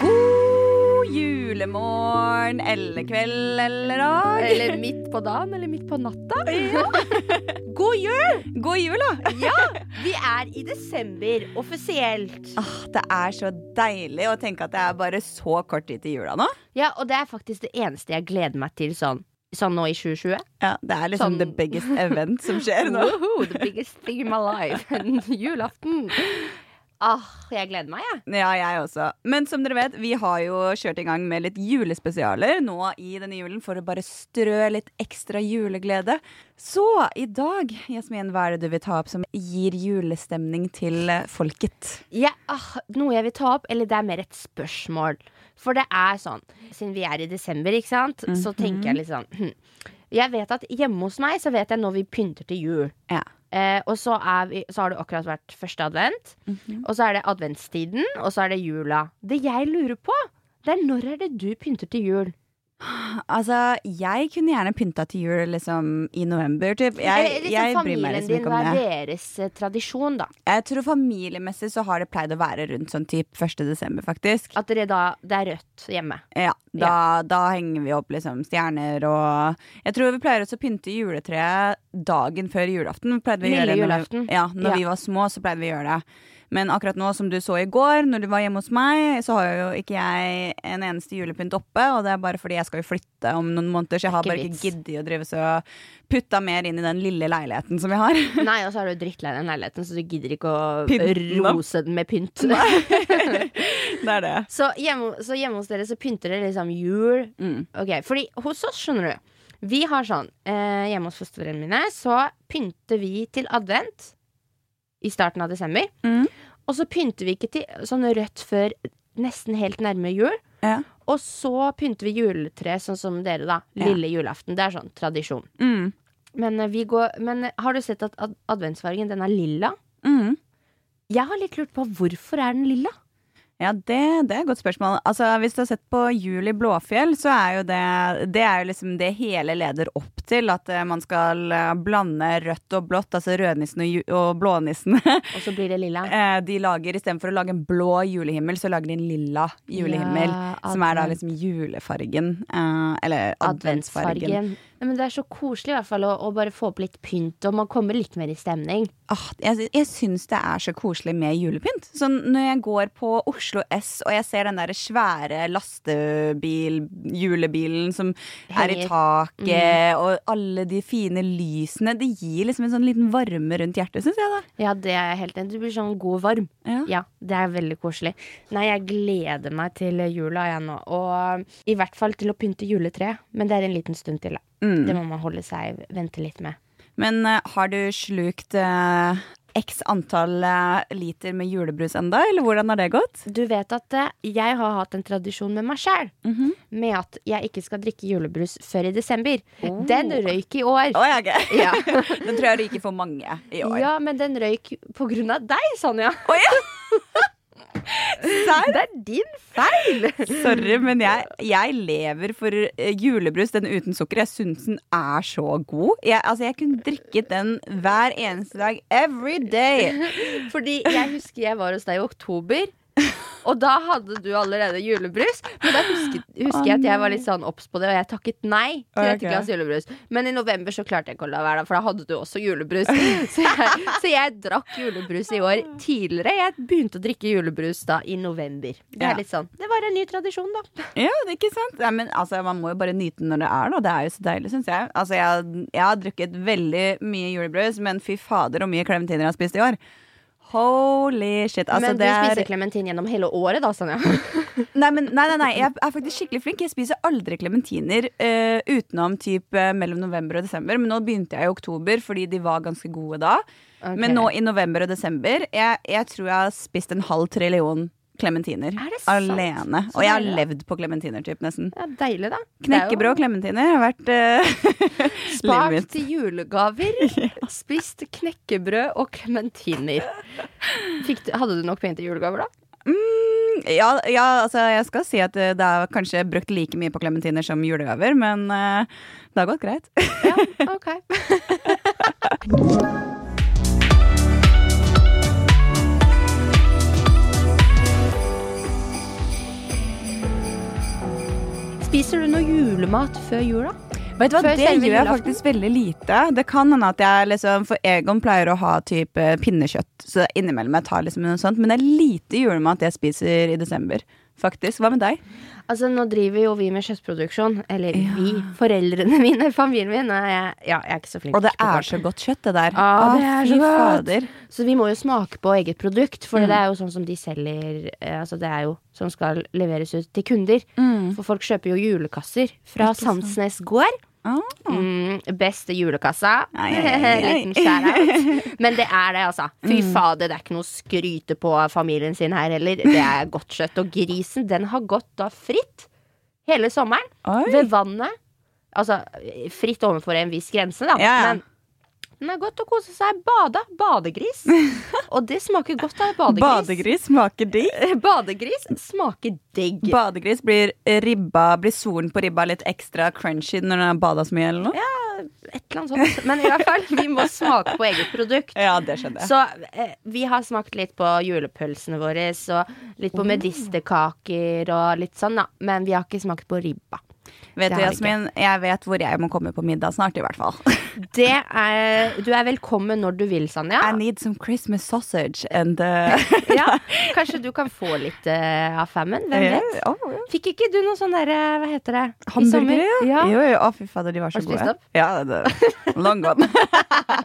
God julemorgen, eller kveld, eller dag. Eller midt på dagen, eller midt på natta. God jul! God jul, da! Vi er i desember, offisielt. Ah, det er så deilig å tenke at det er bare så kort tid til jula nå. Ja, og det er faktisk det eneste jeg gleder meg til sånn, sånn nå i 2020. Ja, Det er liksom Sånn- the biggest event som skjer nå. Woohoo, the biggest thing in my life. Julaften. Ah, jeg gleder meg, jeg. Ja, jeg også. Men som dere vet, vi har jo kjørt i gang med litt julespesialer nå i denne julen for å bare strø litt ekstra juleglede. Så i dag, Jasmin, hva er det du vil ta opp som gir julestemning til eh, folket? Ja, ah, noe jeg vil ta opp, eller det er mer et spørsmål. For det er sånn, siden vi er i desember, ikke sant, så tenker Mhm. jeg litt sånn hm. Jeg vet at hjemme hos meg, så vet jeg når vi pynter til jul. Ja. Eh, og så, er vi, så har det akkurat vært første advent. Mhm. Og så er det adventstiden, og så er det jula. Det jeg lurer på, det er når er det du pynter til jul? Altså, jeg kunne gjerne pynta til jul liksom i november, typ. Jeg, Eller liksom jeg bryr meg familien liksom din, ikke hva om er det. deres eh, tradisjon, da? Jeg tror familiemessig så har det pleid å være rundt sånn typ 1. desember, faktisk. At dere da, det er rødt hjemme. Ja, da, da henger vi opp liksom stjerner og Jeg tror vi pleier også å pynte juletreet dagen før julaften. Pleide vi å gjøre Lille det når julaften. Vi, ja, når Ja. vi var små, så pleide vi å gjøre det. Men akkurat nå, som du så i går, når du var hjemme hos meg, så har jo ikke jeg en eneste julepynt oppe. Og det er bare fordi jeg skal jo flytte om noen måneder, så jeg har Ikke bare ikke vits. giddet å drive så putta mer inn i den lille leiligheten som jeg har. Nei, og så er du drittlei den leiligheten, så du gidder ikke å Pynte den opp. rose den med pynt. det er det. så, hjemme, så hjemme hos dere så pynter dere liksom jul. Mm. Ok, fordi hos oss, skjønner du, vi har sånn eh, Hjemme hos fosterforeldrene mine så pynter vi til advent i starten av desember. Mm. Og så pynter vi ikke til sånn rødt før nesten helt nærme jul. Ja. Og så pynter vi juletre sånn som dere, da. Ja. Lille julaften. Det er sånn tradisjon. Mm. Men, eh, vi går, men eh, har du sett at ad adventsfargen, den er lilla? Mm. Jeg har litt lurt på hvorfor er den lilla? Ja, det, det er et godt spørsmål. Altså, hvis du har sett på Jul i Blåfjell, så er jo det Det er jo liksom det hele leder opp til. At eh, man skal eh, blande rødt og blått, altså rødnissen og, ju og blånissen. Og så blir det lilla. Eh, de lager istedenfor å lage en blå julehimmel, så lager de en lilla julehimmel. Ja, som er da advent. liksom julefargen. eh, eller adventsfargen. Adventsfargen. Nei, men det er så koselig i hvert fall å, å bare få opp litt pynt, og man kommer litt mer i stemning. Ah, jeg jeg syns det er så koselig med julepynt. Sånn, når jeg går på Oslo S og jeg ser den der svære lastebil, julebilen som er i Henger. taket, og alle de fine lysene Det gir liksom en sånn liten varme rundt hjertet, syns jeg. da Ja, det er jeg helt enig. i. Du blir sånn god og varm. ja. Ja, det er veldig koselig. Nei, jeg gleder meg til jula, jeg nå. Og i hvert fall til å pynte juletreet. Men det er en liten stund til, da. Det Mm. må man holde seg, vente litt med. Men eh, har du slukt eh, x antall eh, liter med julebrus enda, eller hvordan har det gått? Du vet at eh, jeg har hatt en tradisjon med meg sjæl. Med at jeg ikke skal drikke julebrus før i desember. Den røyk i år. Å, ja, ok. Ja. Den tror jeg ryker for mange i år. ja, men den røyk på grunn av deg, Sonja. Serr? Det er din feil! Sorry, men jeg, jeg lever for eh, julebrus, den uten sukker. Jeg syns den er så god. Jeg, altså, jeg kunne drikket den hver eneste dag. Every day! Fordi jeg husker jeg var hos deg i oktober. Og da hadde du allerede julebrus. Men da husker, husker jeg at jeg var litt sånn obs på det, og jeg takket nei til et Ok. glass julebrus. Men i november så klarte jeg ikke å la være, da, for da hadde du også julebrus. Så jeg, så jeg drakk julebrus i år tidligere. Jeg begynte å drikke julebrus da i november. Det Ja. er litt sånn Det var en ny tradisjon, da. Ja, det er ikke sant? Nei, men altså, Man må jo bare nyte den når det er, da. Det er jo så deilig, syns jeg. Altså, jeg. Jeg har drukket veldig mye julebrus, men fy fader hvor mye klementiner jeg har spist i år. Holy shit. Altså, men du det er spiser klementin gjennom hele året, da, Sanja. Nei, men, nei, nei, nei, jeg er faktisk skikkelig flink. Jeg spiser aldri klementiner eh, utenom typ, eh, mellom november og desember. Men nå begynte jeg i oktober fordi de var ganske gode da. Ok. Men nå i november og desember Jeg, jeg tror jeg har spist en halv trillion klementiner Er det sant? alene. Så Og jeg har deilig, da. levd på klementiner, typ, nesten. Ja, deilig, da. Det er jo- Knekkebrød og klementiner har vært eh, livet Spart mitt. til julegaver. Spist knekkebrød og klementiner. Fikk du- Hadde du nok penger til julegaver, da? Ja, ja, altså jeg skal si at eh, det er kanskje brukt like mye på klementiner som julegaver, men eh, det har gått greit. Ja, ok. Spiser du noe julemat før jula? Vet du hva, Før Det selve gjør jeg julaften? faktisk veldig lite. Det kan hende at jeg liksom For Egon pleier å ha type pinnekjøtt, så innimellom jeg tar liksom noe sånt. Men det er lite julemat jeg spiser i desember, faktisk. Hva med deg? Altså, Nå driver jo vi med kjøttproduksjon. Eller vi. Foreldrene mine, familien min. Nei, jeg, ja, jeg er ikke så flink Og det på er kart. så godt kjøtt, det der. Ah, det er så fy godt. fader. Mm. Så vi må jo smake på eget produkt, for det er jo sånn som de selger eh, Altså det er jo som skal leveres ut til kunder. Mm. For folk kjøper jo julekasser fra Sandsnes gård. Ah. Mm, beste julekassa. Ai, ai, ai, ai. Mm. Liten skjæra. Men det er det, altså. Fy fader, det er ikke noe å skryte på familien sin her heller. Det er godt kjøtt. Og grisen, den har gått da fritt hele sommeren. Oi. Ved vannet. Altså fritt overfor en viss grense, da. Ja, ja. Men den er godt å kose seg. Bada. Badegris. Og det smaker godt av badegris. Eh, Badegris smaker digg. Badegris, smaker digg. Badegris blir ribba, blir solen på ribba litt ekstra crunchy når den har bada så mye, eller noe? Ja, Et eller annet sånt. Men i hvert fall, vi må smake på eget produkt. det skjønner jeg. Så eh, vi har smakt litt på julepølsene våre og litt på medisterkaker og litt sånn, da. Men vi har ikke smakt på ribba. vet det du, har vi Jasmin, jeg vet hvor jeg må komme på middag snart, i hvert fall. Det er, du er velkommen når du vil, Sanja. I need some Christmas sausage and uh, Ah. Ja, kanskje du kan få litt eh, av fammen? Hvem vet? yeah, oh, yeah. Fikk ikke du noe sånn derre, hva heter det? I Hamburgere, sommer? ja. ja. Jo, jo, å, fy fader, de var så Har du spist gode. opp? Ja, det, long gone.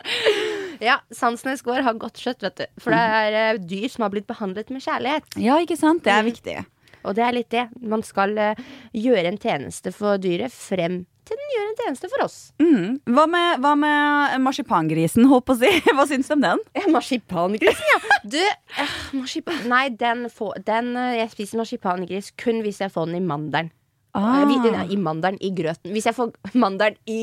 Ja, Sandsnes gård har godt kjøtt, vet du. For det er eh, dyr som har blitt behandlet med kjærlighet. ja, ikke sant? Det er viktig. Og det er litt det. Man skal eh, gjøre en tjeneste for dyret frem til den gjør en tjeneste for oss. Mm. Hva, med, hva med marsipangrisen, holdt på å si? Hva syns du om den? Ja, Marsipangrisen, ja. Du, eh, marsipan Nei, den får den, eh, Jeg spiser marsipangris kun hvis jeg får den i mandelen. Eh, vi- den er I mandelen i grøten. Hvis jeg får mandelen i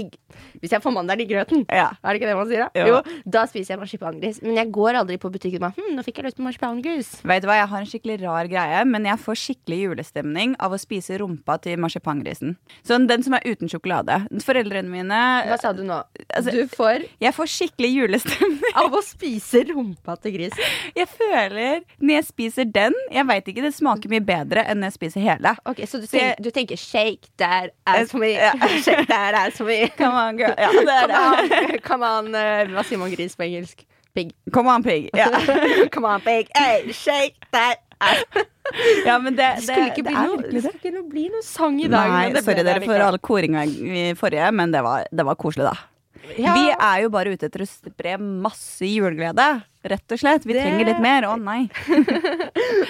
Hvis jeg får mandelen i grøten. Ja. Er det ikke det man sier, da? Jo. Da spiser jeg marsipangris. Men jeg går aldri på butikken og bare hm, 'Nå fikk jeg lyst på marsipangris'. Vet du hva, Jeg har en skikkelig rar greie, men jeg får skikkelig julestemning av å spise rumpa til marsipangrisen. Sånn, Den som er uten sjokolade. Foreldrene mine Hva sa du nå? Altså- du får Jeg får skikkelig julestemning. av å spise rumpa til grisen. Jeg føler Når jeg spiser den Jeg veit ikke, det smaker mye bedre enn når jeg spiser hele. Ok, Så du, Så jeg- tenk, du tenker 'shake that ass for me'. Ja. Shake that ass for me. Come on, girl. Ja, det er Come det. on, come on eh, Hva sier man gris på engelsk? Pig. Come on, pig. Ja, Come on, pig. Hey, shake that ass. ja men det, det, Det skulle ikke det bli, er noe, virkelig det det. skulle ikke noe bli noe sang i dag. men Nei, det ble sorry det dere for likevel. all koringa i forrige, men det var, det var koselig, da. Ja. Vi er jo bare ute etter å spre masse juleglede, rett og slett. Vi Det- trenger litt mer. Å nei.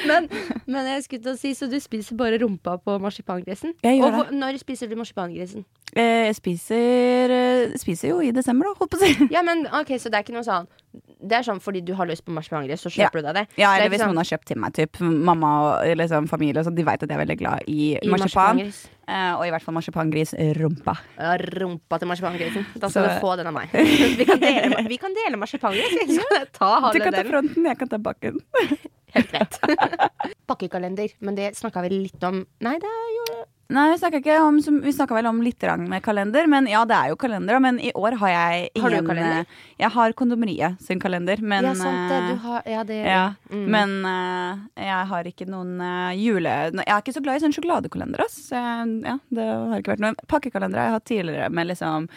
Men, men jeg skulle til å si, så du spiser bare rumpa på marsipangrisen? Jeg gjør og hvor, når spiser du marsipangrisen? Eh, Jeg spiser, eh, spiser jo i desember, da, holdt på å si. Ja, men ok, så det er ikke noe sånn Det er sånn fordi du har lyst på marsipangris, så kjøper du deg det? Ja, det eller er ikke hvis sånn- noen har kjøpt til meg, typ. Mamma og liksom, familie og sånn, de veit at jeg er veldig glad i, I marsipan. marsipangris. Eh, og i hvert fall marsipangrisrumpa. Ja, Rumpa til marsipangrisen. Da skal Så- du få den av meg. Vi kan dele, vi kan dele marsipangris. Vi skal ta Du halve kan ta delen. fronten, jeg kan ta bakken. Helt greit. Pakkekalender. Men det snakka vi litt om Nei, det er jo Nei, vi snakka ikke om som- Vi snakket vel om litt grann med kalender, men ja, det er jo kalender, da, men i år har jeg Har du ingen, kalender? eh, Jeg har Kondomeriet sin kalender, men Ja, sant det. eh, Du har Ja, det Mm. Ja, men eh, jeg har ikke noen eh, jule... Nei, Jeg er ikke så glad i sånn sjokoladekalender, ass. Så jeg, ja, det har ikke vært noen pakkekalender jeg har hatt tidligere med liksom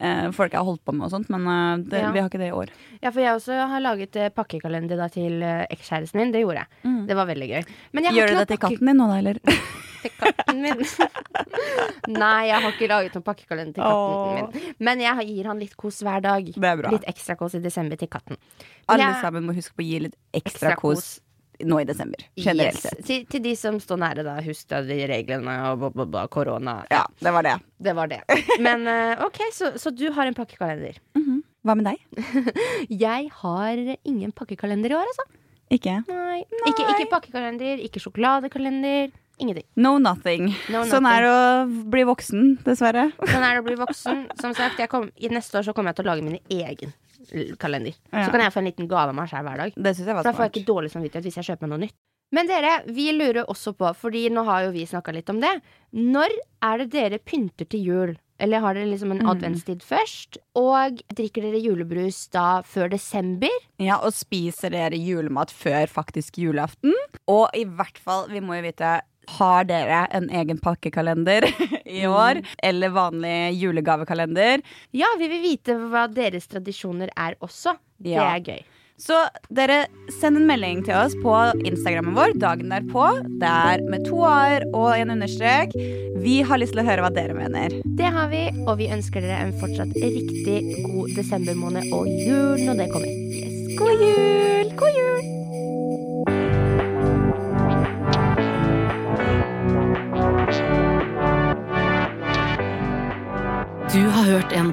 eh, folk jeg har holdt på med og sånt, men eh, det, Ja. vi har ikke det i år. Ja, for jeg også har laget eh, pakkekalender da til eh, ekskjæresten min. Det gjorde jeg. Det var veldig gøy. Men jeg har Mm. Gjør du ikke det noen til katten din nå, da, eller? til katten min. Nei, jeg har ikke laget noen pakkekalender til katten Åh. min. Men jeg gir han litt kos hver dag. Det er bra. Litt ekstra kos i desember til katten. Men Alle jeg- sammen må huske på å gi litt ekstra, Ekstra kos kos. nå i desember. Generelt Yes. sett. Til, til de som står nære, da. Husk da de reglene og bla, bla, bla, korona. Ja, det var det. Det var det. Men eh, OK, så, så du har en pakkekalender. Hva med deg? Jeg har ingen pakkekalender i år, altså. Ikke? Nei. Ikke, ikke pakkekalender, ikke sjokoladekalender. Ingenting. No nothing. No Sånn er det å bli voksen, dessverre. Sånn er det å bli voksen. Som sagt, jeg kom, i Neste år så kommer jeg til å lage min egen l- kalender. Ja. Så kan jeg få en liten gave av meg sjøl hver dag. Det syns jeg var For da får jeg smart. ikke dårlig samvittighet hvis jeg kjøper meg noe nytt. Men dere, vi lurer også på, fordi nå har jo vi snakka litt om det. Når er det dere pynter til jul? Eller har dere liksom en Mm. adventstid først? Og drikker dere julebrus da før desember? Ja, Og spiser dere julemat før faktisk julaften? Og i hvert fall, vi må jo vite har dere en egen pakkekalender i år? Eller vanlig julegavekalender? Ja, vi vil vite hva deres tradisjoner er også. Det Ja. er gøy. Så dere, send en melding til oss på Instagrammen vår dagen derpå. Det er med to a-er og en understrek. Vi har lyst til å høre hva dere mener. Det har vi, og vi ønsker dere en fortsatt riktig god desembermåned og jul når det kommer. God jul! God jul! Du har hørt en